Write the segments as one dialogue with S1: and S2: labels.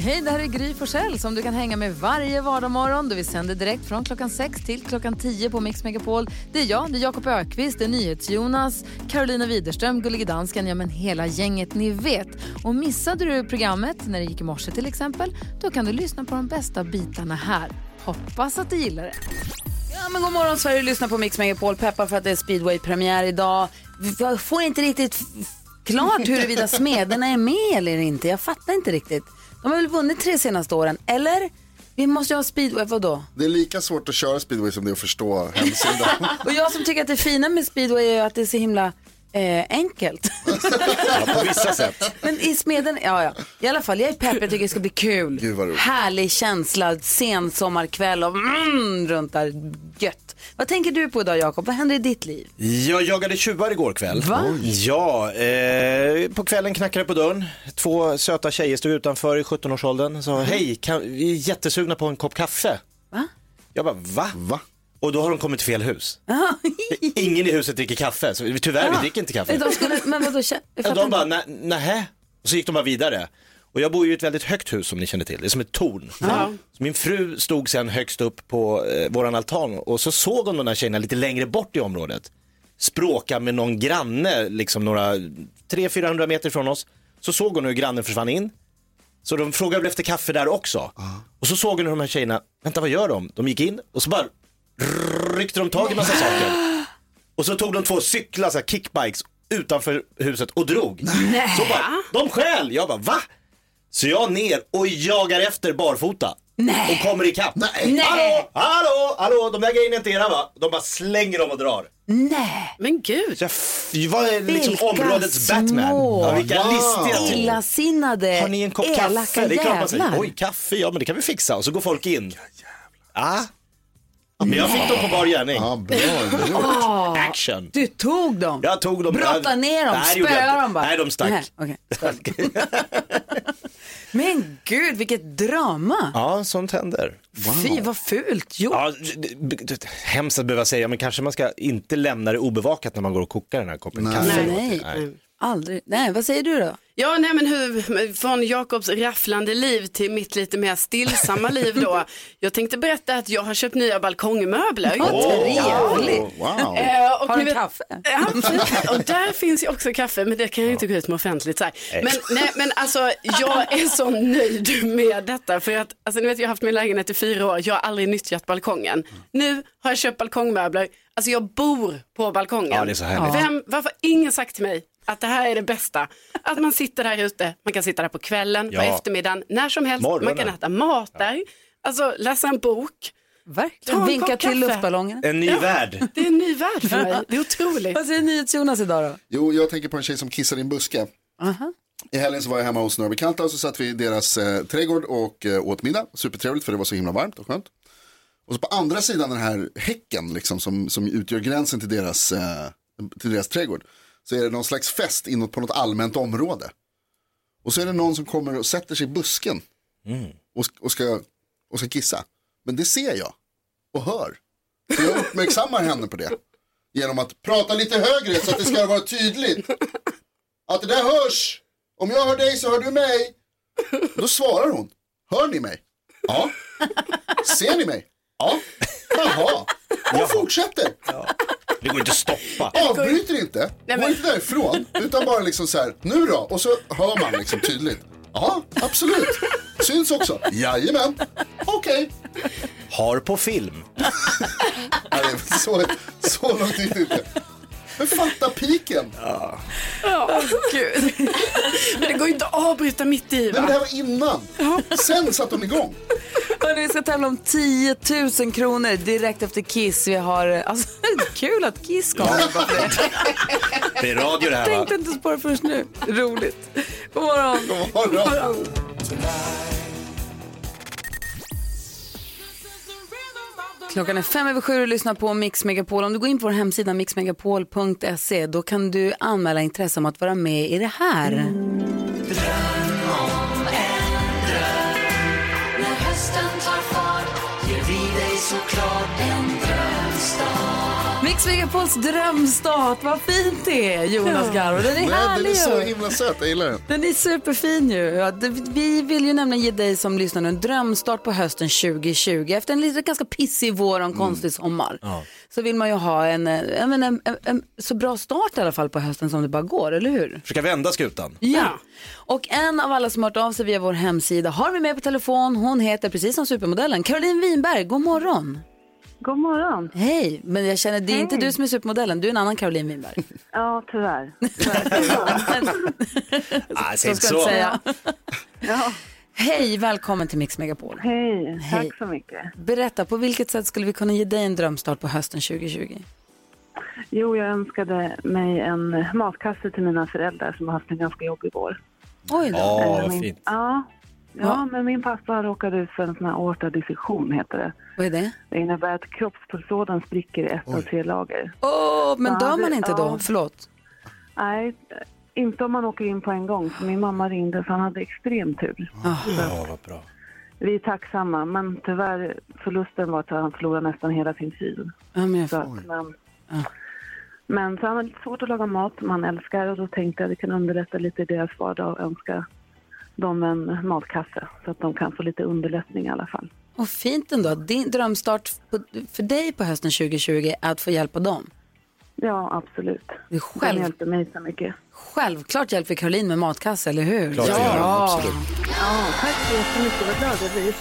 S1: Hej, det här är Gry Forssell som du kan hänga med varje vardagsmorgon. Vi sänder direkt från klockan 6 till klockan 10 på Mix Megapol. Det är jag, det är Jakob Ökvist, det är NyhetsJonas, Carolina Widerström, Gullige Dansken, ja men hela gänget ni vet. Och missade du programmet när det gick i morse till exempel, då kan du lyssna på de bästa bitarna här. Hoppas att du gillar det. Ja, men god morgon Sverige, lyssna på Mix Megapol. Peppar för att det är speedway-premiär idag. Jag får inte riktigt f- klart huruvida Smederna är med eller inte. Jag fattar inte riktigt. De har väl vunnit tre senaste åren, eller? Vi måste ju ha speedway, vadå?
S2: Det är lika svårt att köra speedway som det är att förstå hemsidan.
S1: Och jag som tycker att det fina med speedway är ju att det är så himla eh, enkelt.
S2: ja, på vissa sätt.
S1: Men i smeden, ja ja. I alla fall, jag är pepp, jag tycker det ska bli kul.
S2: Gud, vad roligt.
S1: Härlig känsla, sen sommarkväll och mm, runt där, gött. Vad tänker du på idag Jakob? Vad händer i ditt liv?
S3: Jag jagade tjuvar igår kväll.
S1: Va?
S3: Ja, eh, på kvällen knackade det på dörren. Två söta tjejer stod utanför i 17-årsåldern. Sa, hej, kan, vi är jättesugna på en kopp kaffe.
S1: Mm. Va?
S3: Jag bara, va?
S2: Va?
S3: Och då har de kommit till fel hus. Ingen i huset dricker kaffe, så vi- tyvärr,
S1: Ah.
S3: vi dricker inte kaffe.
S1: De skulle, men vadå, kä- jag
S3: Och
S1: fattar
S3: de
S1: inte.
S3: bara, "Nä- nähä? Och så gick de bara vidare. Och jag bor ju i ett väldigt högt hus som ni känner till, det är som ett torn. Så min fru stod sen högst upp på eh, våran altan och så såg hon de där tjejerna lite längre bort i området. Språka med någon granne, liksom några 300-400 meter från oss. Så såg hon hur grannen försvann in. Så de frågade väl efter kaffe där också. Och så såg hon hur de här tjejerna, vänta vad gör de? De gick in och så bara ryckte de tag i massa saker. Och så tog de två cyklar, så här kickbikes, utanför huset och drog. Så bara, de stjäl! Jag bara, va? Så jag ner och jagar efter barfota. Och kommer ikapp. Nej. Hallå, hallå, hallå, de där grejerna är inte era va? De bara slänger dem och drar.
S1: Nej,
S4: Men gud.
S3: Så jag f- var liksom
S1: Vilka
S3: områdets Batman.
S1: små.
S3: Ja, vilka
S2: Wow.
S3: listiga typer.
S1: illasinnade,
S3: Har ni en kopp
S1: elaka
S3: kaffe? Det är klart man säger,
S1: jävlar.
S3: oj kaffe, ja men det kan vi fixa. Och så går folk in. Ah. Ja. Men jag fick dem på bar gärning.
S2: Ja, bra. ändå gjort.
S3: Action.
S1: Du tog dem?
S3: Jag tog dem.
S1: Brotta ner dem,
S3: Nej, det gjorde jag
S1: spöa
S3: inte.
S1: dem bara.
S3: Nej, de stack.
S1: Nej, okej. Men gud, vilket drama.
S3: Ja, sånt händer.
S1: Fy, vad fult gjort.
S3: Ja, det- det- det- hemskt att behöva säga, men kanske man ska inte lämna det obevakat när man går och kokar den här koppen
S2: Nej.
S3: kaffe.
S1: Nej.
S3: Nej.
S1: Aldrig. Nej, vad säger du då?
S4: Ja, nej men hur, från Jakobs rafflande liv till mitt lite mer stillsamma liv då. Jag tänkte berätta att jag har köpt nya balkongmöbler.
S1: Vad trevligt.
S2: Oh, wow.
S4: Eh, och
S1: Har
S4: ni
S1: du
S4: vet-
S1: kaffe?
S4: Ja, precis. och där finns ju också kaffe, men det kan jag ju inte gå ut med offentligt. Så här.
S3: Nej.
S4: Men, nej, men alltså, jag är så nöjd med detta. För att, alltså, ni vet, jag har haft min lägenhet i fyra år, jag har aldrig nyttjat balkongen. Nu har jag köpt balkongmöbler, alltså jag bor på balkongen.
S3: Ja, det är så härligt.
S4: Vem, varför har ingen sagt till mig att det här är det bästa? Att man sitter där ute, man kan sitta där på kvällen,
S3: Ja.
S4: på eftermiddagen, när som helst,
S3: Morgonen.
S4: man kan äta mat där, alltså läsa en bok. Ta
S1: Verkligen.
S4: en
S1: Vinka
S4: kopp
S1: till
S4: kaffe.
S1: luftballongerna.
S3: En ny värld.
S4: Det är en ny värld för mig, det är otroligt.
S1: Vad säger NyhetsJonas idag då?
S2: Jo, jag tänker på en tjej som kissar i en buske. I helgen så var jag hemma hos några bekanta och så satt vi i deras eh, trädgård och eh, åt middag. Supertrevligt för det var så himla varmt och skönt. Och så på andra sidan den här häcken liksom, som, som utgör gränsen till deras, eh, till deras trädgård så är det någon slags fest inåt på något allmänt område. Och så är det någon som kommer och sätter sig i busken och, och, ska, och ska kissa. Men det ser jag och hör. Så jag uppmärksammar henne på det genom att prata lite högre så att det ska vara tydligt. Att det där hörs. Om jag hör dig så hör du mig. Då svarar hon. Hör ni mig? Ja. Ser ni mig? Ja. Jaha. Hon fortsätter.
S3: Det går inte att stoppa.
S2: Avbryter inte. Går inte därifrån. Utan bara liksom så här. Nu då? Och så hör man liksom tydligt. Ja, absolut. Syns också. Jajamän. Okej.
S3: Har på film.
S2: Nej, det är Så, så långt gick det inte. Men fatta piken.
S4: Ja, gud. Men det går ju inte att avbryta mitt i
S2: Nej, men
S4: va?
S2: det här var innan. Sen satte hon igång.
S1: Hörrni, vi ska tävla om 10 000 kronor direkt efter Kiss. Vi har, alltså, kul att Kiss kom.
S3: Det är radio det här va?
S1: Tänkte inte på det först nu. Roligt. God morgon.
S2: God morgon.
S1: Klockan är fem över sju och lyssnar på Mix Megapol. Om du går in på vår hemsida mixmegapol.se då kan du anmäla intresse om att vara med i det här. Mix Megapols drömstart, vad fint det är Jonas Garro. Den är
S2: Nej, den
S1: härlig
S2: är så
S1: ju.
S2: himla söt, jag gillar den.
S1: Den är superfin ju. Ja, det- Vi vill ju nämligen ge dig som lyssnar nu en drömstart på hösten 2020. Efter en lite ganska pissig vår och en konstig sommar så vill man ju ha en, eh, ja, men en, en, en så bra start i alla fall på hösten som det bara går, eller hur?
S3: Försöka vända skutan.
S1: Ja. Och en av alla som har hört av sig via vår hemsida har vi med på telefon. Hon heter precis som supermodellen Caroline Winberg. God morgon!
S5: God morgon.
S1: Hej! Men jag känner, det är inte du som är supermodellen, du är en annan Caroline Winberg.
S5: Ja, tyvärr.
S3: Ah,
S1: Så
S3: säg inte
S1: ska jag inte
S3: så.
S1: säga. Hej, välkommen till Mix Megapol.
S5: Hej,
S1: Hej.
S5: tack så mycket.
S1: Berätta, på vilket sätt skulle vi kunna ge dig en drömstart på hösten 2020?
S5: Jo, jag önskade mig en matkasse till mina föräldrar som har haft en ganska jobbig vår.
S1: Oj då.
S3: Ja,
S5: Eh,
S3: vad
S5: min,
S3: fint.
S5: Ja, ja,
S1: Ja.
S5: men min pappa råkade ut för en sån här aortadissektion, heter det.
S1: Vad är det?
S5: Det innebär att kroppspulsådern spricker i ett av tre lager.
S1: Åh, men
S5: Ja,
S1: dör man
S5: det-
S1: inte då?
S5: ja.
S1: Förlåt.
S5: Nej, inte om man åker in på en gång. Så min mamma ringde, så han hade extrem tur.
S3: Ah. Ja, vad bra.
S5: Vi är tacksamma, men tyvärr förlusten var att han förlorade nästan hela sin tid.
S1: Ja, men jag
S5: Så att, men, men så han har lite svårt att laga mat som han älskar och då tänkte jag att vi kan underlätta lite i deras vardag och önska dem en matkasse så att de kan få lite underlättning i alla fall.
S1: Och fint ändå. Din drömstart på, för dig på hösten 2020 är att få hjälpa dem.
S5: Ja, absolut.
S1: Det är
S5: De
S1: själv,
S5: hjälpte mig så mycket.
S1: självklart hjälper Caroline med matkasse, eller hur?
S3: Klart det gör hon, absolut.
S5: Tack så jättemycket, vad glad jag blir.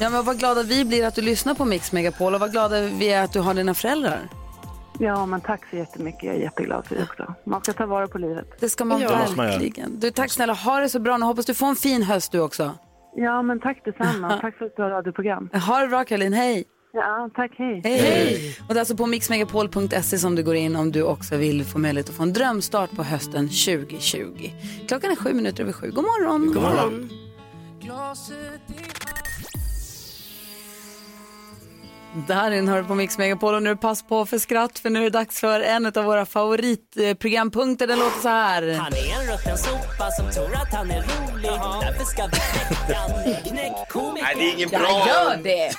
S1: Ja, men vad glada vi blir att du lyssnar på Mix Megapol och vad glada vi är att du har dina föräldrar.
S5: Ja, men tack så jättemycket. Jag är jätteglad för det också. Man ska ta vara på livet.
S1: Det ska man
S4: Ja.
S3: Det måste man göra.
S1: verkligen. Du, tack snälla, ha det så bra nu. Hoppas du får en fin höst du också.
S5: Ja, men tack detsamma. tack för ett bra radioprogram.
S1: Ha det bra Caroline, hej!
S5: Ja, tack, hej.
S1: Hej! Och det är alltså på mixmegapol.se som du går in om du också vill få möjlighet att få en drömstart på hösten 2020. Klockan är sju minuter över sju. God morgon! God
S4: morgon.
S1: Darin hör på Mix Megapol och nu är det pass på för skratt för nu är det dags för en av våra favoritprogrampunkter. Den låter så här.
S6: Han är en rutten sopa som tror att han är rolig. Därför ska vi knäcka han. Knäck
S3: Nej,
S6: komikern.
S3: det är ingen
S1: Jag
S3: bra.
S1: gör det!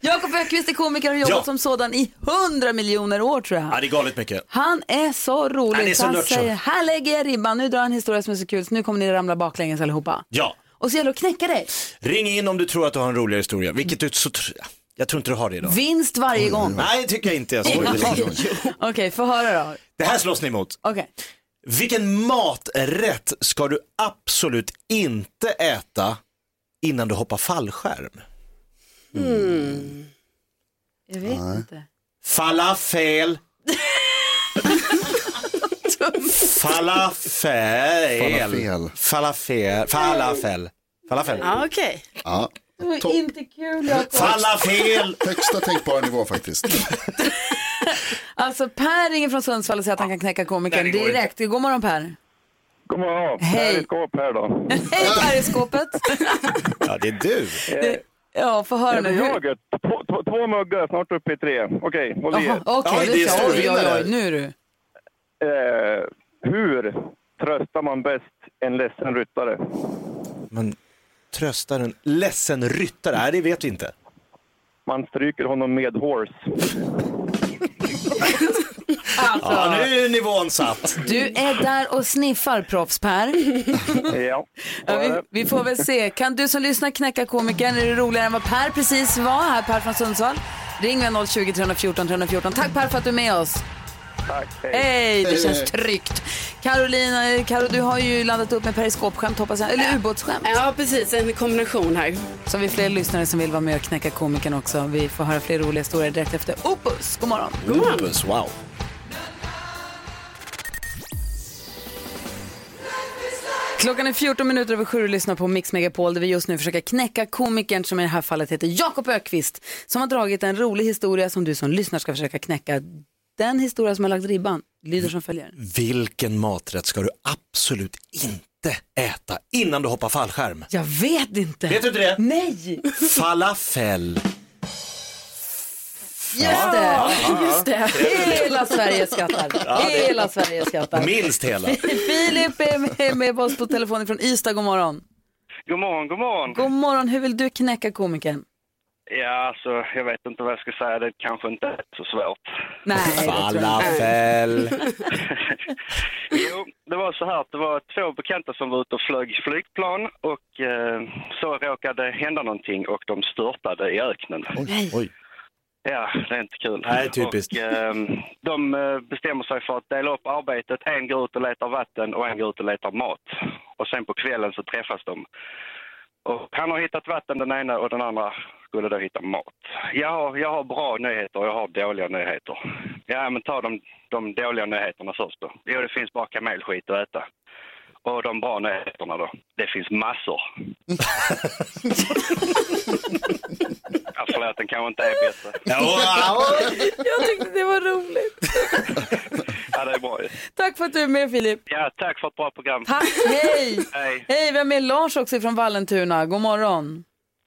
S1: Jakob Ökvist är komiker och har jobbat
S3: Ja.
S1: som sådan i hundra miljoner år tror jag.
S3: Ja, det är galet mycket.
S1: Han är så rolig.
S3: Han är så
S1: han
S3: nörd, så.
S1: säger, här lägger jag ribban, nu drar han en historia som är så kul så nu kommer ni ramla baklänges allihopa.
S3: Ja.
S1: Och så gäller det att knäcka dig.
S3: Ring in om du tror att du har en roligare historia, vilket du så tr- Jag tror inte du har det idag.
S1: Vinst varje gång.
S3: Nej, det tycker jag inte. Jag skojar.
S1: Okej, få höra då.
S3: det här slåss ni emot.
S1: Okej.
S3: Vilken maträtt ska du absolut inte äta innan du hoppar fallskärm?
S1: Jag vet inte.
S3: Falafel. Falafel.
S2: Falafel.
S3: Falafel. Falafel. Falafel.
S4: Ja, okej.
S2: Ja.
S1: Det
S2: Topp.
S1: var inte kul Jakob.
S3: Falafel.
S2: Högsta tänkbara nivå faktiskt.
S1: Alltså Per ringer från Sundsvall och säger att han kan knäcka komikern
S3: Nej, det går
S1: direkt. God morgon Per.
S7: God morgon.
S1: Hej.
S7: Här är Skåp här då.
S1: Hej Per i skåpet.
S3: Ja, det är du.
S1: Det- ja, få höra
S7: Är
S1: nu.
S7: det
S1: Hur-
S7: jaget? Två, två, två muggar, snart uppe i tre. Okej, håll i
S1: Jaha,
S7: er.
S1: Okej,
S3: Ja,
S1: det
S3: det är
S1: ska- oj, oj,
S3: storvinnare.
S1: oj, nu är du.
S7: Eh, hur tröstar man bäst en ledsen ryttare?
S3: Man tröstar en ledsen ryttare. Nej, det vet vi inte.
S7: Man stryker honom med horse.
S3: Ja, nu är nivån satt.
S1: Du är där och sniffar proffs Per.
S7: Ja, så
S1: Ja,
S7: är det.
S1: vi, vi får väl se. Kan du som lyssnar knäcka komikern? Är det roligare än vad Per precis var? Här Per från Sundsvall. Ring med 020 314 314. Tack Per för att du är med oss.
S7: Tack, hej.
S1: Hej, det känns tryggt. Carolina, eh, Karo, du har ju landat upp med periskopskämt hoppas jag, eller ubåtsskämt.
S4: Ja, precis. En kombination här.
S1: Så vi är fler lyssnare som vill vara med och knäcka komikern också. Vi får höra fler roliga historier direkt efter Opus. God morgon.
S3: Opus, wow.
S1: Klockan är 14 minuter över sju och lyssnar på Mix Megapol där vi just nu försöker knäcka komikern som i det här fallet heter Jakob Ökvist som har dragit en rolig historia som du som lyssnar ska försöka knäcka. Den historia som har lagt ribban lyder som följer.
S3: Vilken maträtt ska du absolut inte äta innan du hoppar fallskärm?
S1: Jag vet inte.
S3: Vet du inte det?
S1: Nej,
S3: Falafel.
S1: just det.
S3: Ah.
S4: Just det.
S1: Hela Sverige skrattar. Hela Sverige skrattar.
S3: Minst hela.
S1: Filip är med, med oss på telefonen från Ystad. God morgon.
S7: God morgon, god morgon.
S1: God morgon. Hur vill du knäcka komikern?
S8: Ja, alltså, jag vet inte vad jag ska säga. Det kanske inte är så svårt.
S1: Nej, det tror jag inte.
S3: Falafel.
S8: Jo, det var så här att det var två bekanta som var ute och flög flygplan och eh, så råkade hända någonting och de störtade i öknen.
S3: Oj, oj.
S8: Ja, det är inte kul.
S3: Nej, typiskt.
S8: Och, ehm, de eh, bestämmer sig för att dela upp arbetet. En går ut och letar vatten och en går ut och letar mat. Och sen på kvällen så träffas de. Och han har hittat vatten den ena och den andra skulle då hitta mat. Jag har, jag har bra nyheter och jag har dåliga nyheter. Ja, men ta de, de dåliga nyheterna först då. Jo, det finns bara kamelskit att äta. Och de bra nyheterna då? Det finns massor. ja, förlåt, den kanske inte är bättre.
S1: Jag tyckte det var roligt.
S8: Ja, det är bra ju.
S1: Tack för att du är med Filip.
S8: Ja, tack för ett bra program.
S1: Tack, hej!
S8: Hej.
S1: Hej, vi har med Lars också från Vallentuna. God morgon.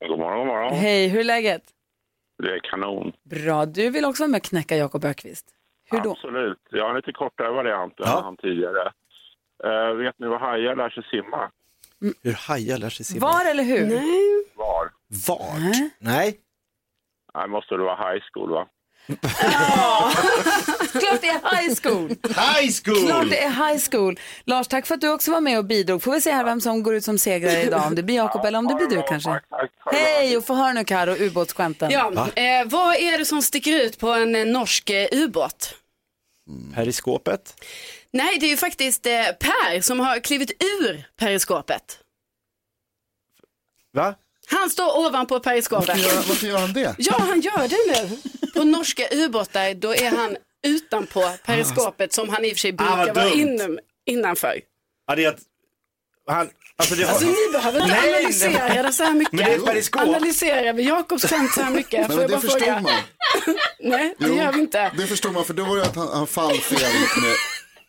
S9: God morgon, god morgon.
S1: Hej, hur är läget?
S9: Det är kanon.
S1: Bra, du vill också vara med och knäcka Jakob Ökvist. Hur då?
S9: Absolut. Jag har en lite kortare variant
S3: Ja.
S9: än han tidigare. Eh, vet ni vad hajar lär sig simma?
S3: Hur hajar lär sig simma?
S1: Var eller hur?
S9: Var?
S3: Vart?
S4: Äh?
S3: Nej.
S9: Nej, måste det vara high school, va?
S1: Klart det är high school!
S3: High
S1: Klart
S3: school!
S1: det är high school. Lars, tack för att du också var med och bidrog. Får vi se här vem som går ut som segrare idag, om det blir Jakob eller om det blir du kanske.
S9: Tack, tack, tack.
S1: Hej, och få höra nu Karo, ubåtsskämten.
S4: Ja, eh, vad är det som sticker ut på en eh, norsk eh, ubåt?
S3: Periskopet.
S4: Nej, det är ju faktiskt eh, Per som har klivit ur periskopet.
S3: Va?
S4: Han står ovanpå periskopet.
S2: Varför gör- Varför gör han det?
S4: Ja, han gör det nu. På norska ubåtar, då är han utanpå periskopet som han i och för sig
S3: Ah, vad
S4: brukar vara
S3: dumt.
S4: inom, innanför.
S3: Ja, det är att... Han... Alltså det har...
S4: Alltså ni behöver inte
S3: Nej,
S4: analysera det så här mycket.
S3: Men det är ett periskop.
S4: Analyserar vi Jakobs skämt så här mycket?
S2: Men
S4: Får jag
S2: det
S4: bara
S2: förstod
S4: fråga?
S2: man.
S4: Nej, det
S2: Jo,
S4: gör vi inte.
S2: Det förstod man, för då var det att han, han fall fel med,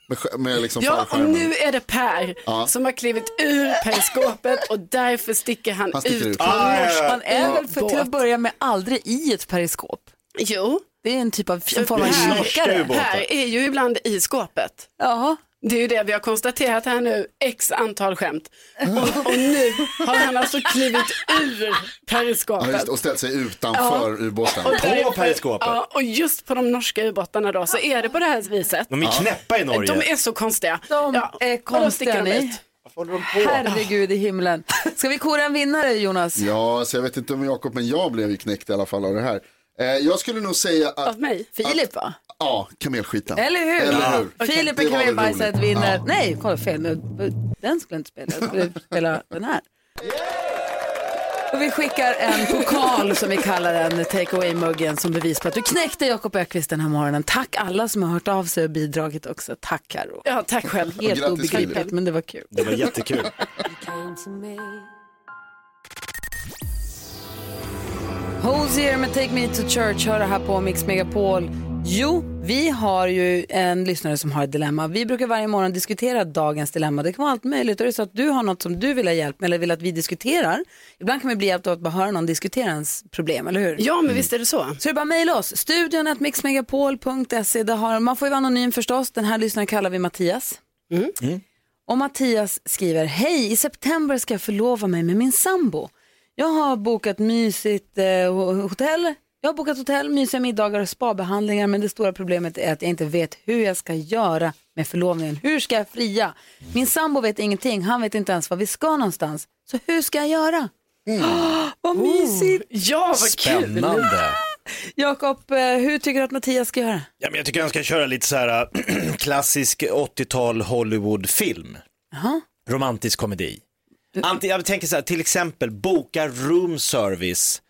S2: med, skär- med liksom
S4: Ja, och
S2: fallskärmen.
S4: nu är det Per som har klivit ur periskopet och därför sticker han,
S2: Han sticker ut.
S4: ut.
S3: Ah, ja, ja.
S1: Man är väl för, till att
S4: Båt.
S1: börja med aldrig i ett periskop.
S4: Jo,
S1: Det är en typ av en form av
S4: Det är
S1: kikare.
S3: ubåtar.
S4: Per är ju ibland i skåpet.
S1: Jaha.
S4: Det är ju det vi har konstaterat här nu, x antal skämt. Och, och nu har han alltså klivit ur
S2: Ja, just,
S4: periskopet.
S2: det, och ställt sig utanför ubåten.
S3: På periskopet.
S4: Ja, och just på de norska ubåtarna då så är det på det här viset.
S3: De är knäppa i Norge.
S4: De är så konstiga.
S1: De
S4: Ja,
S1: är
S4: och då sticker
S1: konstiga
S4: de
S1: ni.
S4: ut.
S3: Varför håller de på?
S1: Herregud i himlen. Ska vi kora en vinnare Jonas?
S2: Ja, så jag vet inte om Jakob, men jag blev ju knäckt i alla fall av det här. Eh, jag skulle nog säga att,
S4: Av mig.
S1: Filip va?
S2: ja, kamelskiten.
S1: Eller hur?
S2: Eller hur?
S1: Filip
S2: Det var väl
S1: är kamelbajset
S2: roligt.
S1: vinner. Nej, kolla fel nu. Den skulle jag inte spela. Jag skulle spela den här. Och vi skickar en pokal som vi kallar den, take away-muggen, som bevis på att du knäckte Jakob Ökvist den här morgonen. Tack alla som har hört av sig och bidragit också. Tack Karo.
S4: Ja, tack själv.
S1: Helt
S2: grattis,
S1: obegripligt
S2: Filip.
S1: men det var kul.
S3: Det var jättekul.
S1: Hosier med Take Me To Church hör det här på Mix Megapol. Jo, vi har ju en lyssnare som har ett dilemma. Vi brukar varje morgon diskutera dagens dilemma. Det kan vara allt möjligt. Och det är så att du har något som du vill ha hjälp med eller vill att vi diskuterar. Ibland kan vi bli hjälpta av att bara höra någon diskutera ens problem, eller hur?
S4: Ja, men visst är det så.
S1: Så det är bara att mejla oss. Studion at mixmegapol.se. Där har- Man får ju vara anonym förstås. Den här lyssnaren kallar vi Mattias. Och Mattias skriver, hej, i september ska jag förlova mig med min sambo. Jag har bokat mysigt eh, hotell, jag har bokat hotell, mysiga middagar och spabehandlingar men det stora problemet är att jag inte vet hur jag ska göra med förlovningen. Hur ska jag fria? Min sambo vet ingenting, han vet inte ens var vi ska någonstans. Så hur ska jag göra? Ah, vad mysigt!
S4: Ja, vad kul.
S3: Spännande.
S1: Jakob, eh, hur tycker du att Mattias ska göra?
S3: Ja, men jag tycker han ska köra lite så här äh, klassisk 80-tal Hollywoodfilm.
S1: Jaha.
S3: Romantisk komedi. Anti, jag tänker så här, till exempel boka room service,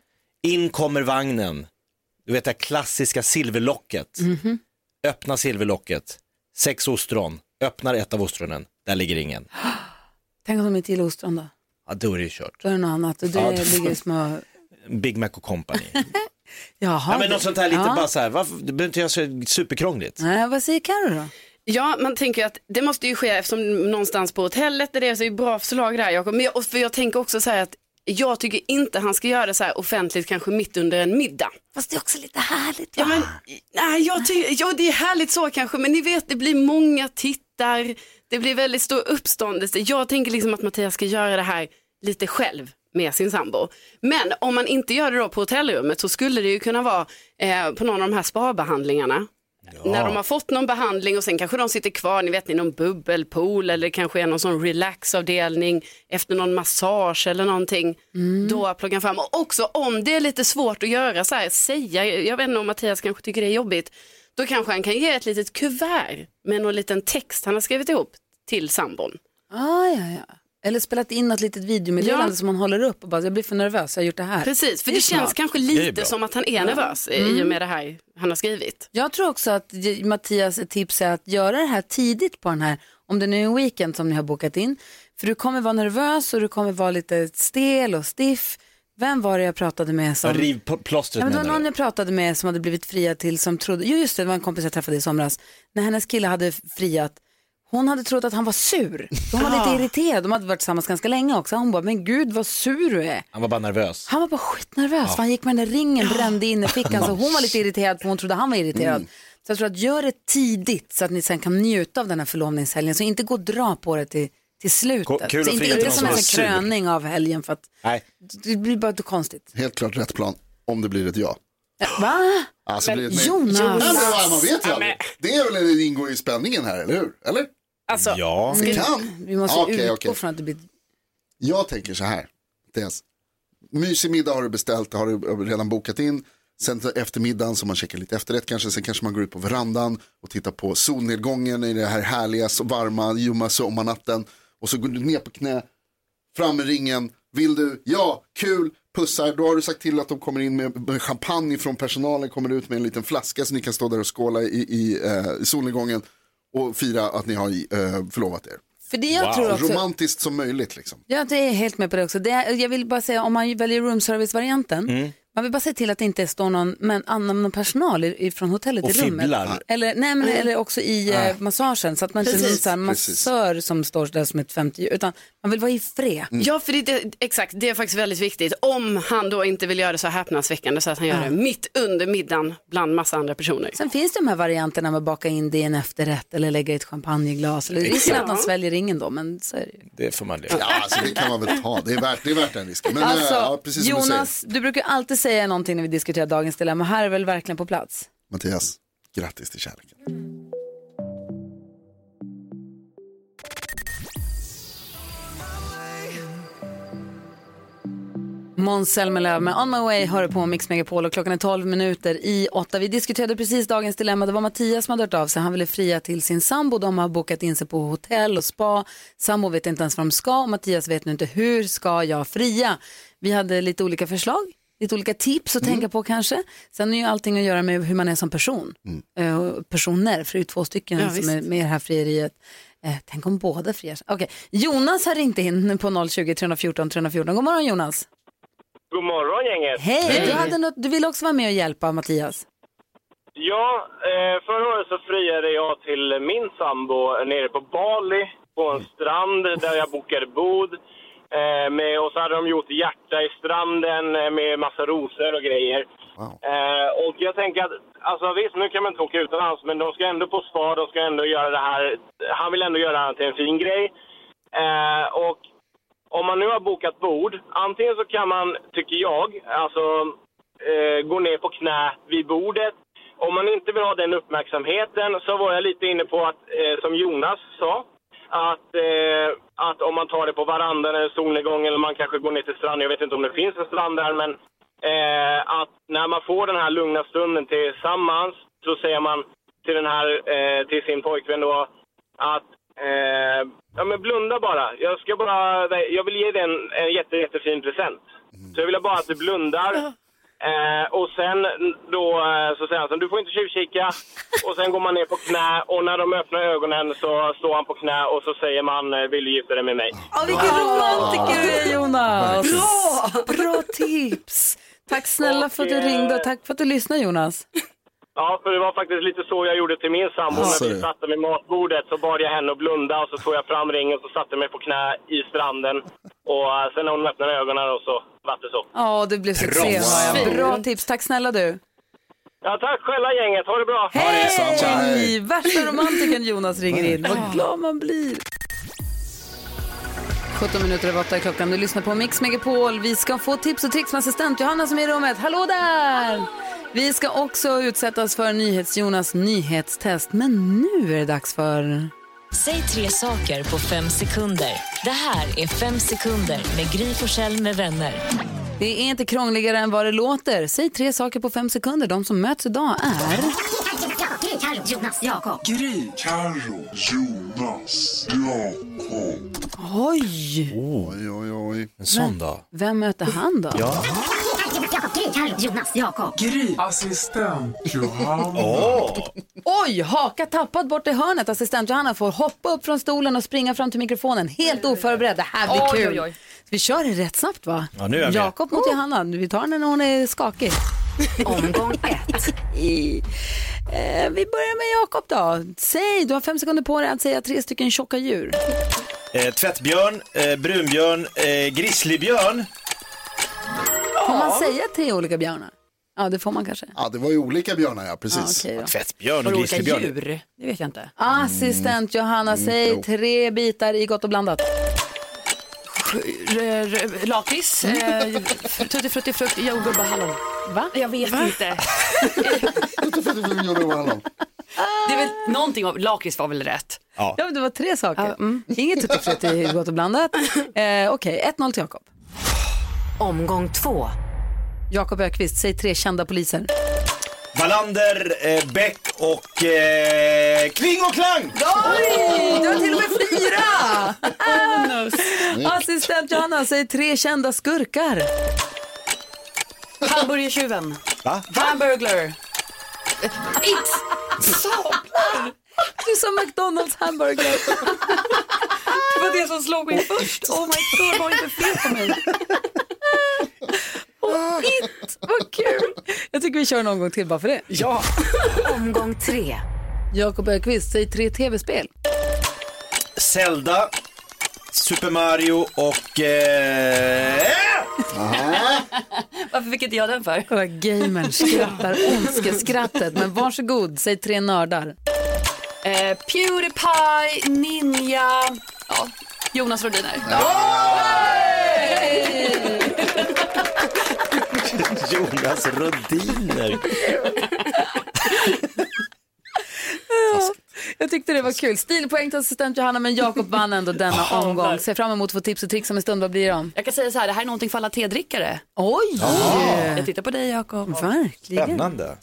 S3: in kommer vagnen, du vet det här klassiska silverlocket,
S1: Mhm.
S3: öppna silverlocket, sex ostron, öppnar ett av ostronen, där ligger ingen.
S1: Tänk om de inte gillar ostron då?
S3: Ja, då är det ju kört.
S1: Då är det något annat och du
S3: Ja, det-
S1: ligger i små...
S3: Big Mac och company.
S1: Jaha.
S3: Ja, men något sånt här lite
S1: Ja.
S3: bara så här, varför, det behöver inte göra så superkrångligt.
S1: Nej, vad säger Carro då?
S4: Ja, man tänker att det måste ju ske eftersom någonstans på hotellet där det är så är det bra förslag där Jakob. Men jag, och för jag tänker också så här att jag tycker inte han ska göra det så här offentligt kanske mitt under en middag.
S1: Fast det är också lite härligt.
S4: Ja, men, nej, jag tycker, ja, det är härligt så kanske, men ni vet det blir många tittar, det blir väldigt stor uppståndelse. Jag tänker liksom att Mattias ska göra det här lite själv med sin sambo. Men om man inte gör det då på hotellrummet så skulle det ju kunna vara eh, på någon av de här spabehandlingarna. När de har fått någon behandling och sen kanske de sitter kvar, ni vet i någon bubbelpool eller det kanske är någon sån relaxavdelning efter någon massage eller någonting. Då plockar han fram, och också om det är lite svårt att göra så här, säga, jag vet inte om Mattias kanske tycker det är jobbigt, då kanske han kan ge ett litet kuvert med någon liten text han har skrivit ihop till sambon.
S1: Ah, ja, ja. Eller spelat in något litet videomeddelande
S4: Ja.
S1: som man håller upp och bara, jag blir för nervös, jag har gjort det här.
S4: Precis, för
S1: är
S4: det känns
S1: smart.
S4: kanske
S3: Det är
S4: lite
S3: bra.
S4: som att han är nervös i- i och med det här han har skrivit.
S1: Jag tror också att J- Mattias ett tips är att göra det här tidigt på den här, om det nu är en weekend som ni har bokat in. För du kommer vara nervös och du kommer vara lite stel och stiff. Vem var det jag pratade med som...
S3: Ja, Riv pl- plåstret
S1: Ja, men det var
S3: menar
S1: någon
S3: du?
S1: jag pratade med som hade blivit friad till som trodde, jo just det, det var en kompis jag träffade i somras, när hennes kille hade friat, hon hade trott att han var sur. Hon var lite irriterad, de hade varit tillsammans ganska länge också. Hon bara, men gud vad sur du är.
S3: Han var bara nervös.
S1: Han var bara skitnervös, för han gick med den där ringen, brände in i fickan, så hon var lite irriterad för hon trodde han var irriterad.
S3: Mm.
S1: Så jag tror att gör det tidigt så att ni sen kan njuta av den här förlovningshelgen, så inte gå och dra på det till, till
S3: Ko- kul
S1: slutet.
S3: att
S1: Så inte
S3: fria till
S1: inte
S3: någon
S1: som
S3: som
S1: en
S3: var
S1: sån här
S3: sur.
S1: kröning av helgen för att
S3: Nej.
S1: det blir bara konstigt.
S2: Helt klart rätt plan, om det blir ett ja.
S1: Äh, Va?
S2: Alltså blir det ett nej.
S1: Jonas.
S2: Ja, men vad- man vet ju aldrig. Det är väl det ingår i spänningen här, eller hur? Eller?
S4: Alltså,
S3: Ja.
S2: Det kan.
S1: Vi måste
S2: Ja, okej,
S1: utgå
S2: okej.
S1: från att det blir...
S2: Jag tänker så här. Dels, mysig middag har du beställt, det har du redan bokat in. Sen till eftermiddagen så man käkar lite efterrätt kanske. Sen kanske man går ut på verandan och tittar på solnedgången i det här härliga, så varma, ljumma sommarnatten. Och så går du ner på knä, fram med ringen. Vill du? Ja, kul, pussar. Då har du sagt till att de kommer in med med champagne från personalen. Kommer ut med en liten flaska så ni kan stå där och skåla i, i eh, solnedgången. Och fira att ni har eh, förlovat er.
S1: För det jag tror också...
S2: Romantiskt som möjligt liksom.
S1: Ja, det är helt med på det också. Det är, jag vill bara säga, om man väljer roomservice-varianten,
S3: Mm.
S1: man vill bara se till att det inte står någon, men, annan någon personal i- i- från hotellet
S3: Och
S1: i rummet.
S3: fibblar. Ah.
S1: Eller, nej,
S2: Mm.
S1: men, eller också i eh, massagen, så att man inte är någon sån här massör som står där som ett 50 utan man vill vara i fred.
S2: Mm.
S4: Ja, för det, det, exakt, det är faktiskt väldigt viktigt. Om han då inte vill göra det så häpnadsväckande så att han gör det mitt under middagen bland massa andra personer.
S1: Sen finns det de här varianterna med att baka in det i en efterrätt eller lägga i ett champagneglas. Eller, risken är att man sväljer ringen då, men så är det ju.
S3: Det får man leva
S2: Ja, alltså det kan man väl ta. Det är värt, det är värt den risken. Men eh,
S1: Alltså,
S2: ja, precis som du säger,
S1: Jonas, du brukar alltid säga någonting när vi diskuterar dagens dilemma. Här är väl verkligen på plats?
S2: Mattias, grattis till kärleken.
S1: Måns Zelmerlöw med On My Way hör på Mix Megapol och klockan är 12 minuter i 8. Vi diskuterade precis dagens dilemma. Det var Mattias som hade hört av sig. Han ville fria till sin sambo. De har bokat in sig på hotell och spa. Sambo vet inte ens vad de ska och Mattias vet nu inte hur ska jag fria. Vi hade lite olika förslag, lite olika tips att
S4: Mm.
S1: tänka på kanske. Sen är ju allting att göra med hur man är som person. Eh, och personer, för det är ju två stycken
S4: Mm. Ja,
S1: som
S4: visst.
S1: är med i det här frieriet. Eh, tänk om båda friar sig. Okej, Jonas har ringt in på 020 314 314. God morgon Jonas.
S9: God morgon gänget.
S1: Hej, Du, hade något, du ville också vara med och hjälpa Mattias.
S9: Ja, eh, förra året så friade jag till min sambo nere på Bali på en strand där jag bokade bod. Eh, med, och så hade de gjort hjärta i stranden eh, med massa rosor och grejer.
S2: Wow.
S9: Eh, och jag tänker att, alltså visst nu kan man inte åka utomlands men de ska ändå på spa, de ska ändå göra det här, han vill ändå göra det här till en fin grej. Eh, och om man nu har bokat bord, antingen så kan man, tycker jag, alltså eh, gå ner på knä vid bordet. Om man inte vill ha den uppmärksamheten så var jag lite inne på att, eh, som Jonas sa, att, eh, att om man tar det på varandan eller solnedgången eller man kanske går ner till stranden, jag vet inte om det finns en strand där, men eh, att när man får den här lugna stunden tillsammans så säger man till den här, eh, till sin pojkvän då att eh, ja men blunda bara. Jag ska bara, jag vill ge dig en, en jätte, jättefin present. Så jag vill bara att du blundar Eh, och sen då eh, så säger han så, du får inte tjuvkika. Och sen går man ner på knä och när de öppnar ögonen så står han på knä och så säger man, eh, vill du gifta dig med mig?
S1: Åh, vilken romantiker du är Jonas! Bra! Bra tips! Tack snälla för att du
S9: Och, eh,
S1: ringde och tack för att du lyssnade Jonas.
S9: Ja, för det var faktiskt lite så jag gjorde till min sambo.
S2: Alltså.
S9: När vi satte vid matbordet så bad jag henne att blunda och så tog jag fram ringen och så satte jag mig på knä i stranden. Och eh, sen när hon öppnade ögonen och så vart det så.
S1: Ja, det blev succé. hör jag. Bra tips, tack snälla du.
S9: Ja, tack själva gänget, ha det bra!
S2: detsamma.
S1: Hej!
S2: Hej.
S1: Värsta romantiken Jonas ringer in. Vad glad man blir. 17 minuter över 8 är klockan. Du lyssnar på Mix Megapol. Vi ska få tips och tricks med assistent Johanna som är i rummet. Hallå där! Vi ska också utsättas för NyhetsJonas nyhetstest. Men nu är det dags för...
S10: Säg tre saker på fem sekunder. Det här är Fem sekunder med Gry Forssell med vänner.
S1: Det är inte krångligare än vad det låter. Säg tre saker på fem sekunder. De som möts idag är...
S11: Gry, Carro, Jonas, Jakob.
S12: Gry, Carro, Jonas, Jakob.
S1: Oj!
S2: Oj, oj, oj.
S3: En sån dag.
S1: Vem möter han då?
S3: Ja.
S11: Gry, Carro, Jonas, Jakob.
S12: Gry, assistent Johanna.
S1: Oj, haka tappad bort i hörnet. Assistent Johanna får hoppa upp från stolen och springa fram till mikrofonen helt oförberedd. Det här blir
S13: Oj,
S1: kul.
S13: oj, oj.
S1: Vi kör det rätt snabbt va?
S3: Ja, nu är jag med.
S1: Jakob mot Johanna. Vi tar henne när hon är skakig. Omgång ett. I, eh, vi börjar med Jakob då. Säg, du har fem sekunder på dig att säga tre stycken tjocka djur.
S3: Eh, tvättbjörn, eh, brunbjörn, eh, grizzlybjörn.
S1: Får man säga tre olika björnar? Ja, det får man kanske.
S2: Ja, det var ju olika björnar, ja, precis.
S1: Ja, okej då.
S3: Tvättbjörn
S13: Var
S3: och
S13: det olika
S3: grizzlybjörn.
S13: djur? Det vet jag inte.
S1: Assistent Johanna, säg tre bitar i gott och blandat.
S13: R- r- Eh, Lakrits, eh, tutti frutti frukt, yoghurt och hallon.
S1: Va?
S13: Jag vet inte.
S2: Ja.
S13: Det är väl någonting av, lakrits var väl rätt?
S1: Ja, mm. men det var tre saker. Inget tuttifrutti i gott och blandat. Eh, Okej, 1-0 till Jakob.
S10: Omgång två.
S1: Jakob Ökvist, säg tre kända poliser.
S3: Wallander, eh, Beck och eh, Kling och
S1: Oj,
S3: Klang.
S1: du har till och med fyra! Assistent Johanna, säg tre kända skurkar.
S13: Hamburgertjuven.
S3: Va?
S13: Van Burglar.
S1: Du är som McDonalds hamburgare.
S13: Det var det som slog mig först. Oh my god, var det inte fel på mig?
S1: Och it, vad kul! Jag tycker vi kör en omgång till bara för det.
S13: Ja.
S10: Omgång tre.
S1: Jakob Ökvist, säg tre tv-spel.
S3: Zelda, Super Mario och... Eh,
S13: Varför fick inte jag den för?
S1: Kolla, gamern skrattar ondskeskrattet. Men varsågod, säg tre nördar.
S13: Eh, Pewdiepie, Ninja, ja, Jonas Rhodiner.
S3: Jonas Rhodiner.
S1: Jag tyckte det var kul. Stilpoäng till assistent Johanna, men Jakob vann ändå denna omgång. Ser fram emot att få tips och tricks om en stund. Vad blir det om?
S13: Jag kan säga så här, det här är någonting för alla tedrickare.
S1: Oj!
S13: Jag tittar på dig Jakob.
S1: Verkligen.
S3: Spännande.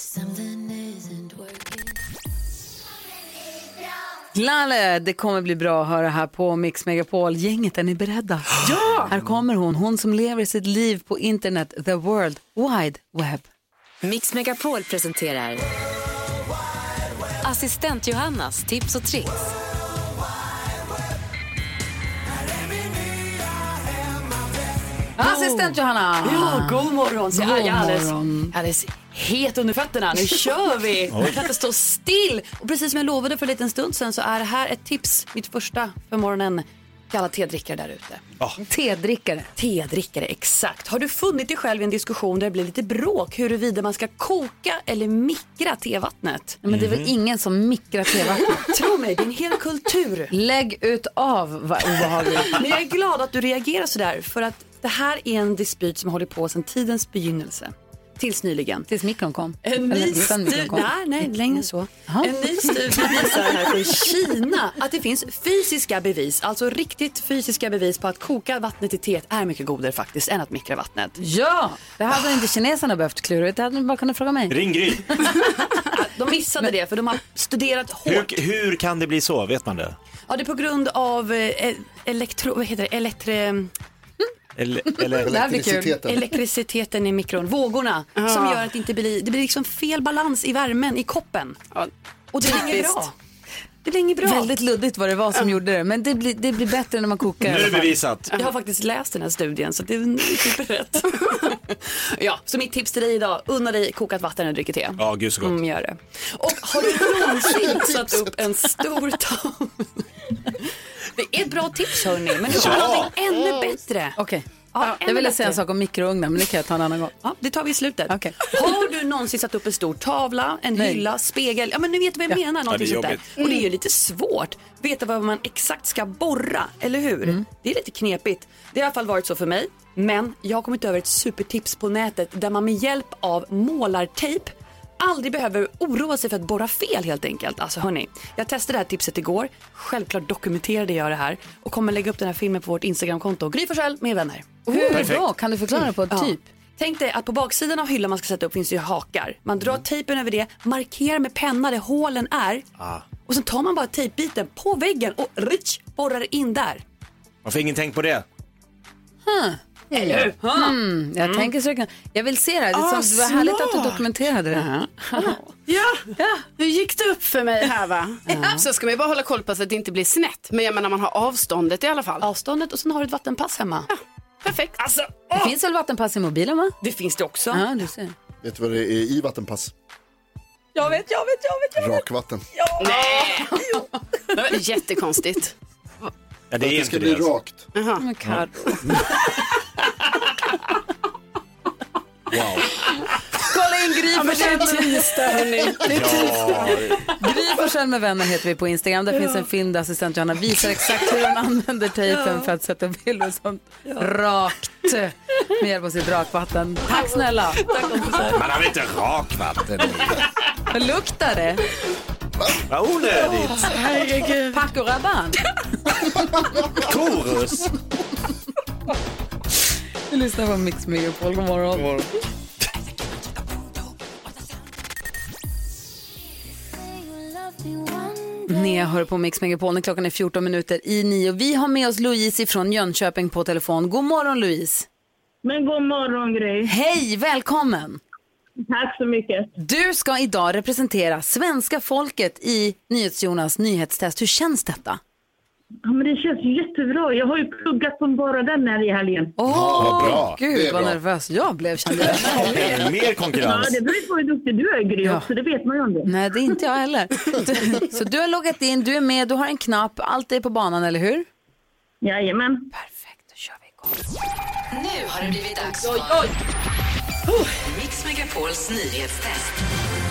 S1: Lalle, det kommer bli bra att höra här på Mix Megapol. Gänget, är ni beredda? Ja! Här kommer hon, hon som lever sitt liv på internet, the world wide web.
S10: Mix Megapol presenterar Assistent Johannas tips och tricks.
S1: Assistent Johanna!
S13: Ja, god morgon. Så
S1: God
S13: jag är alldeles,
S1: morgon.
S13: alldeles het under fötterna. Nu kör vi. Jag kan inte stå still. Och precis som jag lovade för en liten stund sedan så är det här ett tips, mitt första för morgonen till alla tedrickare där ute.
S1: Tedrickare.
S13: Tedrickare, exakt. Har du funnit dig själv i en diskussion där det blir lite bråk huruvida man ska koka eller mikra tevattnet?
S1: Men det är väl ingen som mikrar tevattnet?
S13: Tro mig, det är en hel kultur.
S1: Lägg ut av, vad obehagligt.
S13: Men jag är glad att du reagerar sådär för att det här är en dispyt som har hållit på sedan tidens begynnelse. Tills nyligen.
S1: Tills mikron kom.
S13: En
S1: Eller
S13: ny
S1: sen
S13: studie,
S1: mikron kom.
S13: nej, nej, längre än så. En ny studie visar här från Kina att det finns fysiska bevis, alltså riktigt fysiska bevis på att koka vattnet i teet är mycket godare faktiskt än att mikra vattnet.
S1: Ja, det hade inte kineserna behövt klura ut. Det hade ni bara kunnat fråga mig.
S3: Ring Gry.
S13: De missade det för de har studerat hårt.
S3: Hur, hur kan det bli så? Vet man det?
S13: Ja, det är på grund av eh, elektro, vad heter det, elektre,
S3: Eller, eller,
S1: Det här blir kul.
S2: Elektriciteten.
S13: elektriciteten i mikron, vågorna, som gör att det inte blir, det blir liksom fel balans i värmen i koppen. Och det blir inget bra. Det blir inget bra.
S1: Väldigt luddigt vad det var som gjorde det, men det blir, det blir bättre när man kokar. i
S3: nu
S1: alla
S3: är det
S1: fall.
S3: bevisat.
S13: Jag har faktiskt läst den här studien så det är typ rätt. ja, så mitt tips till dig idag, unna dig kokat vatten när du dricker te.
S3: Ja, gud så gott.
S13: Mm, gör det. Och har du någonsin satt upp en stor tavla? Det är ett bra tips hörni, men du har
S3: Ja.
S13: någonting ännu bättre.
S1: Okej,
S13: Ja,
S1: Jag ville säga en sak om mikrougnen, men det kan jag ta en annan gång.
S13: Ja, det tar vi i slutet. Har du någonsin satt upp en stor tavla, en
S1: Nej.
S13: hylla, spegel? Ja, men ni vet vad jag
S1: Ja. Mm.
S13: menar. Någonting
S1: Ja,
S13: sånt
S1: det är
S13: där. Och det är ju lite svårt. Veta vad man exakt ska borra, eller hur?
S1: Mm.
S13: Det är lite knepigt. Det har i alla fall varit så för mig. Men jag har kommit över ett supertips på nätet där man med hjälp av målartejp aldrig behöver oroa sig för att borra fel helt enkelt. Alltså hörni, jag testade det här tipset igår. Självklart dokumenterade jag det här och kommer lägga upp den här filmen på vårt Instagramkonto. Gry Forssell med vänner.
S1: Hur Perfekt. då? Kan du förklara på ett typ?
S13: Tänk dig att på baksidan av hyllan man ska sätta upp finns det ju hakar. Man drar
S1: Mm.
S13: tejpen över det, markerar med penna där hålen är
S1: Ah.
S13: och sen tar man bara tejpbiten på väggen och rich, borrar in där.
S3: Varför ingen tänkt på det?
S1: Huh.
S13: Eller hur? Huh.
S1: Mm, jag
S3: Mm.
S1: tänker så det kan- Jag vill se det här. Det, är
S4: Ah,
S1: som, det var härligt att du
S4: smart.
S1: dokumenterade det.
S4: Ja, nu gick det upp för mig här va? Så ska man ju bara hålla koll på så att det inte blir snett. Men jag menar man har avståndet i alla fall.
S13: Avståndet och sen har du ett vattenpass hemma.
S4: perfekt.
S13: Alltså,
S1: Det finns väl vattenpass i mobilen va?
S13: Det finns det också.
S1: Ja, du ser.
S2: Vet du vad det är i vattenpass?
S13: Jag vet, jag vet, jag vet.
S2: Rakvatten.
S4: Nej. Jättekonstigt.
S3: Ja,
S2: det är det ska bli rakt.
S4: Jaha.
S1: Men Karo.
S2: Wow.
S1: Kolla in Gry
S4: Ja, men det är tisdag, hörni. Det är tisdag.
S1: Gry Forssell med vänner heter vi på Instagram. Där finns en film där assistent Johanna visar exakt hur hon använder tejpen
S13: Ja.
S1: för att sätta bilder sånt rakt med hjälp av sitt rakvatten. Tack snälla.
S3: Man har väl inte rakvatten?
S1: Vad luktar det?
S3: Vad onödigt.
S1: Herregud. Paco Rabanne.
S3: Korus.
S1: Vi lyssnar på Mix Megapol. God morgon. God
S3: morgon.
S1: Ni hör på Mix Megapol. När Klockan är 14 minuter i nio. Vi har med oss Louise från Jönköping på telefon. God morgon Louise.
S14: Men god morgon Gry.
S1: Hej, välkommen.
S14: Tack så mycket.
S1: Du ska idag representera svenska folket i NyhetsJonas nyhetstest. Hur känns detta?
S14: Ja, men det känns jättebra. Jag har ju pluggat som bara den här i helgen.
S1: Åh,
S3: vad bra. Det
S1: Gud
S3: är
S1: vad
S3: bra.
S1: nervös jag blev kände jag.
S3: Mer konkurrens.
S14: Ja, det beror ju på hur duktig du är Gry också. Det vet man ju om det.
S1: Nej, det är inte jag heller. Du- Så du har loggat in, du är med, du har en knapp, allt är på banan, eller hur?
S14: Jajamän.
S10: Nu har det blivit dags för Oh, Mix Megapols nyhetstest.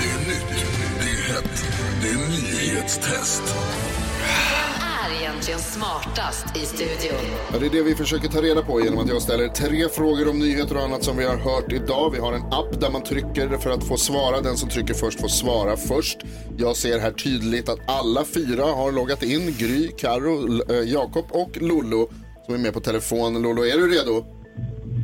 S12: Det är nytt, det är hett, det är nyhetstest.
S10: Vem är egentligen smartast i studion?
S2: Ja, det är det vi försöker ta reda på genom att jag ställer tre frågor om nyheter och annat som vi har hört idag. Vi har en app där man trycker för att få svara. Den som trycker först får svara först. Jag ser här tydligt att alla fyra har loggat in. Gry, Karo, L- eh, Jakob och Lollo som är med på telefon. Lollo, är du redo?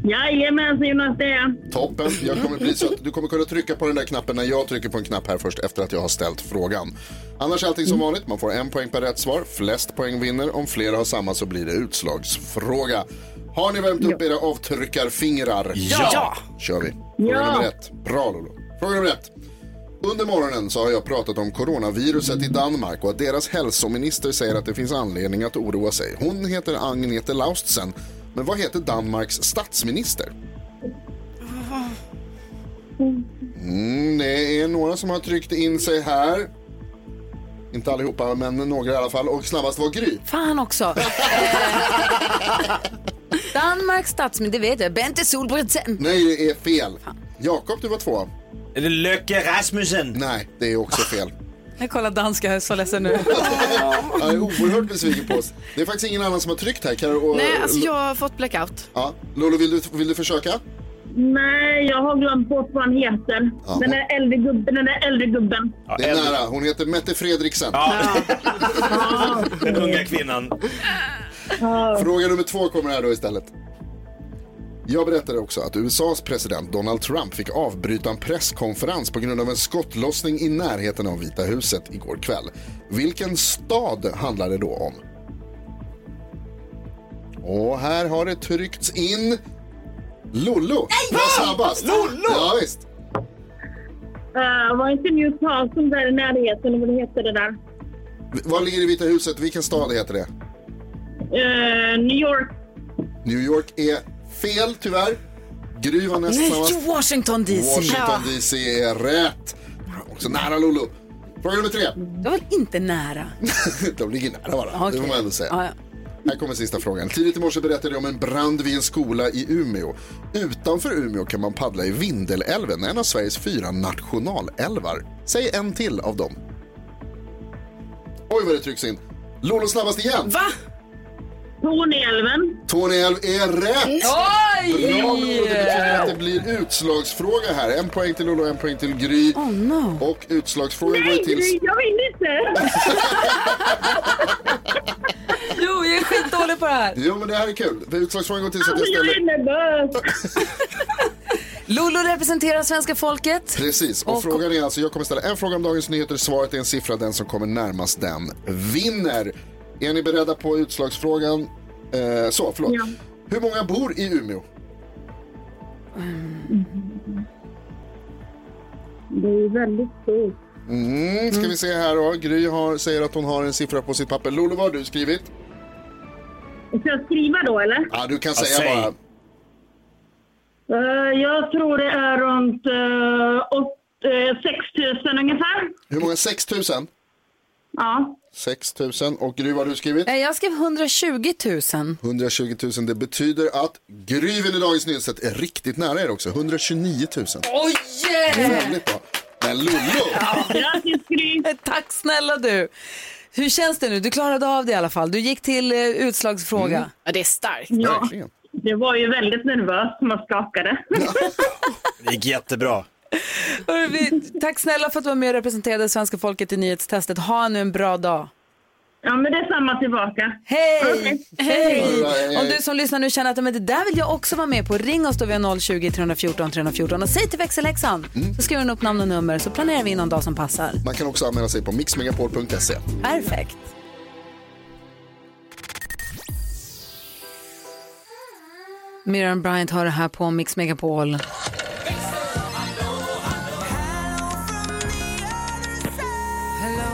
S14: Jajamän, Jonas det är jag.
S2: Toppen. Jag kommer bli så att du kommer kunna trycka på den där knappen när jag trycker på en knapp här först efter att jag har ställt frågan. Annars är
S12: Mm.
S2: allting som vanligt. Man får en poäng per rätt svar. Flest poäng vinner. Om flera har samma så blir det utslagsfråga. Har ni värmt upp era avtryckarfingrar?
S12: Ja. Ja.
S2: kör vi. Fråga
S12: Ja.
S2: nummer ett. Bra Lolo. Fråga nummer ett. Under morgonen så har jag pratat om coronaviruset i Danmark och att deras hälsominister säger att det finns anledning att oroa sig. Hon heter Agnete Laustsen. Men vad heter Danmarks statsminister? Mm, det är några som har tryckt in sig här. Inte allihopa, men några i alla fall. Och snabbast var Gry.
S1: Fan också. Eh, Danmarks statsminister, det vet jag, Bente Solbrandsen.
S2: Nej, det är fel. Jakob, du var två.
S3: Är det Löke Rasmussen?
S2: Nej, det är också fel.
S1: Jag kollar danska, jag är så ledsen nu.
S2: Jag är oerhört besviken på oss. Det är faktiskt ingen annan som har tryckt här. Karo och...
S4: Nej, alltså jag har fått blackout.
S2: Ja, Lolo, vill du, vill du försöka?
S14: Nej, jag har glömt bort vad han heter.
S2: Ja.
S14: Den där äldre gubben, den där äldre gubben.
S2: det är nära. Hon heter Mette Fredriksen.
S3: Den unga kvinnan.
S2: Fråga nummer två kommer här då istället. Jag berättade också att USAs president Donald Trump fick avbryta en presskonferens på grund av en skottlossning i närheten av Vita huset igår kväll. Vilken stad handlar det då om? Och här har det tryckts in Lollo. Vad snabbast? Lollo! Ja, visst.
S14: Uh, var inte New Carlson där i närheten? eller Vad heter det där?
S2: V- Vad ligger i Vita huset? Vilken stad heter det?
S14: Eh, New York.
S2: New York är fel tyvärr. Gry var näst
S1: Nej,
S2: snabbast.
S1: Washington DC.
S2: Washington
S1: Ja.
S2: DC är rätt. Också nära Lolo. Fråga nummer tre.
S1: Det var väl inte nära?
S2: De ligger nära varandra, det får man ändå säga.
S1: Ja, ja.
S2: Här kommer sista frågan. Tidigt i morse berättade jag om en brand vid en skola i Umeå. Utanför Umeå kan man paddla i Vindelälven, en av Sveriges fyra nationalälvar. Säg en till av dem. Oj, vad det trycks in. Lolo snabbast igen.
S4: Va?
S14: Torneälven.
S2: Torneälv är rätt!
S14: Oj!
S2: Bra, Lolo. Det betyder att det blir utslagsfråga här. En poäng till Lolo, en poäng till Gry. Och utslagsfrågan går
S14: Oh, Nej,
S2: till...
S14: Gry, jag vill inte!
S1: Jo, jag är skitdålig på det här.
S2: Jo, men det här är kul. Utslagsfrågan går till så att jag
S14: Alltså, jag
S2: ställer...
S14: är nervös.
S1: Lolo representerar svenska folket.
S2: Precis, och, frågan är alltså, jag kommer ställa en fråga om Dagens Nyheter, svaret är en siffra, den som kommer närmast den vinner. Är ni beredda på utslagsfrågan? Eh, så, förlåt.
S14: Ja.
S2: Hur många bor i Umeå?
S14: Mm. Det är väldigt stort.
S2: Mm, ska vi se här då. Gry har, säger att hon har en siffra på sitt papper. Lolo, vad har du skrivit?
S14: Ska jag skriva då eller?
S2: Ja, du kan
S14: Ja,
S2: säga
S14: säg.
S2: bara.
S14: Eh, jag tror det är runt uh, 6000 ungefär.
S2: Hur många? 6 000?
S14: Ja.
S2: 6 000. Och Gry, vad har du skrivit?
S1: Nej, Eh, Jag skrev 120 000.
S2: 120 000. Det betyder att Gry vinner Dagens Nyheter är riktigt nära er också. 129 000.
S1: Oj!
S2: Väldigt bra. Men Lollo!
S14: Grattis Gry!
S1: Tack snälla du. Hur känns det nu? Du klarade av det i alla fall. Du gick till eh, utslagsfråga.
S4: Ja, det är starkt.
S14: Ja. Det var ju väldigt nervöst man skakade.
S3: Det gick jättebra.
S1: Hörru, vi- Tack snälla för att du var med och representerade svenska folket i nyhetstestet. Ha nu en bra dag.
S14: Ja, men det är samma tillbaka.
S1: Hej!
S14: Hej!
S1: Hej! Om du som lyssnar nu känner att "Men det där vill jag också vara med på, ring oss då via 020-314 314 och säg till växelhäxan. Så skriver hon upp namn och nummer så planerar vi in någon dag som passar.
S2: Man kan också anmäla sig på mixmegapol.se.
S1: Perfekt. Miriam Bryant har det här på Mix Megapol.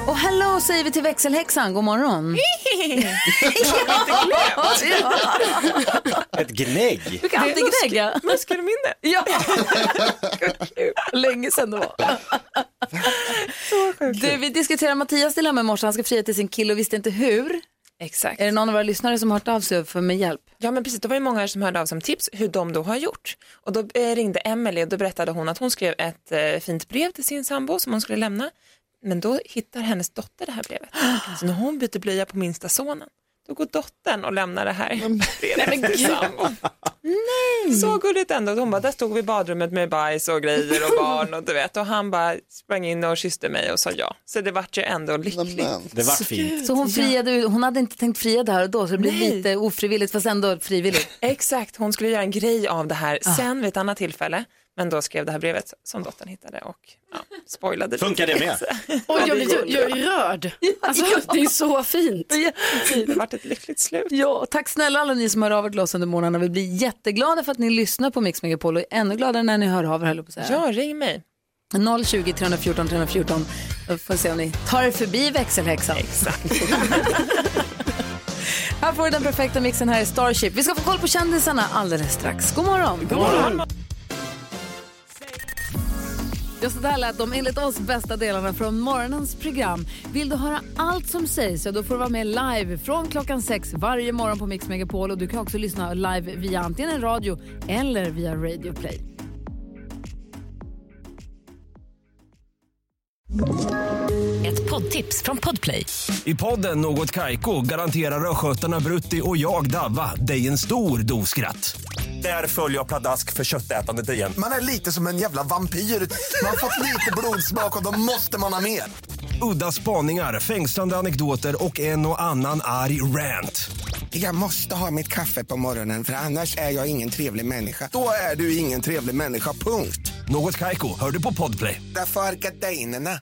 S1: Och hello säger vi till växelhäxan, god morgon.
S3: Ett gnägg.
S1: Du kan alltid gnägga.
S13: Muskelminne.
S1: Ja. Länge sedan det var. Du, vi diskuterade Mattias dilemma i morse. Han ska fria till sin kille och visste inte hur.
S15: Exakt.
S1: Är det någon av våra lyssnare som har hört av sig för med hjälp?
S15: Ja men precis, det var ju många som hörde av sig om tips hur de då har gjort. Och då eh, ringde Emelie och då berättade hon att hon skrev ett eh, fint brev till sin sambo som hon skulle lämna. Men då hittar hennes dotter det här brevet. Så när hon byter blöja på minsta sonen, då går dottern och lämnar det här brevet till sambon. Nej. Så gulligt ändå. Hon bara, där stod vi i badrummet med bajs och grejer och barn och du vet. Och han bara sprang in och kysste mig och sa ja. Så det vart ju ändå lyckligt.
S3: Det vart fint.
S1: Så hon friade, ut- hon hade inte tänkt fria där och då så det blev
S15: Nej.
S1: lite ofrivilligt fast ändå frivilligt.
S15: Exakt, hon skulle göra en grej av det här sen vid ett annat tillfälle. Men då skrev det här brevet som dottern hittade och ja, spoilade.
S3: Funkar det med?
S4: Och jag, blir- jag är rörd. Alltså, Det är så fint.
S15: Det vart ett lyckligt slut.
S1: Ja, och tack snälla alla ni som hör av er till oss under morgonen. Vi blir jätteglada för att ni lyssnar på Mix Megapol och är ännu gladare när ni hör av er, höll jag på att säga.
S15: Ja, ring mig.
S1: 020 314 314. Då får vi se om ni tar er förbi växelhäxan. Exakt. här får du den perfekta mixen här i Starship. Vi ska få koll på kändisarna alldeles strax. God morgon! God morgon! Just det här lät de enligt oss bästa delarna från morgonens program. Vill du höra allt som sägs, ja då får du vara med live från klockan sex varje morgon på Mix Megapol. Och du kan också lyssna live via antingen radio eller via Radio Play.
S10: Ett poddtips från Podplay.
S16: I podden Något Kaiko garanterar östgötarna Brutti och jag, Davva, dig en stor dos skratt. Där följer jag pladask för köttätandet igen.
S17: Man är lite som en jävla vampyr. Man har fått lite blodsmak och då måste man ha mer.
S16: Udda spaningar, fängslande anekdoter och en och annan arg rant.
S17: Jag måste ha mitt kaffe på morgonen för annars är jag ingen trevlig människa. Då är du ingen trevlig människa, punkt.
S16: Något Kaiko, hör du på Podplay.
S17: Därför arkadeinerna.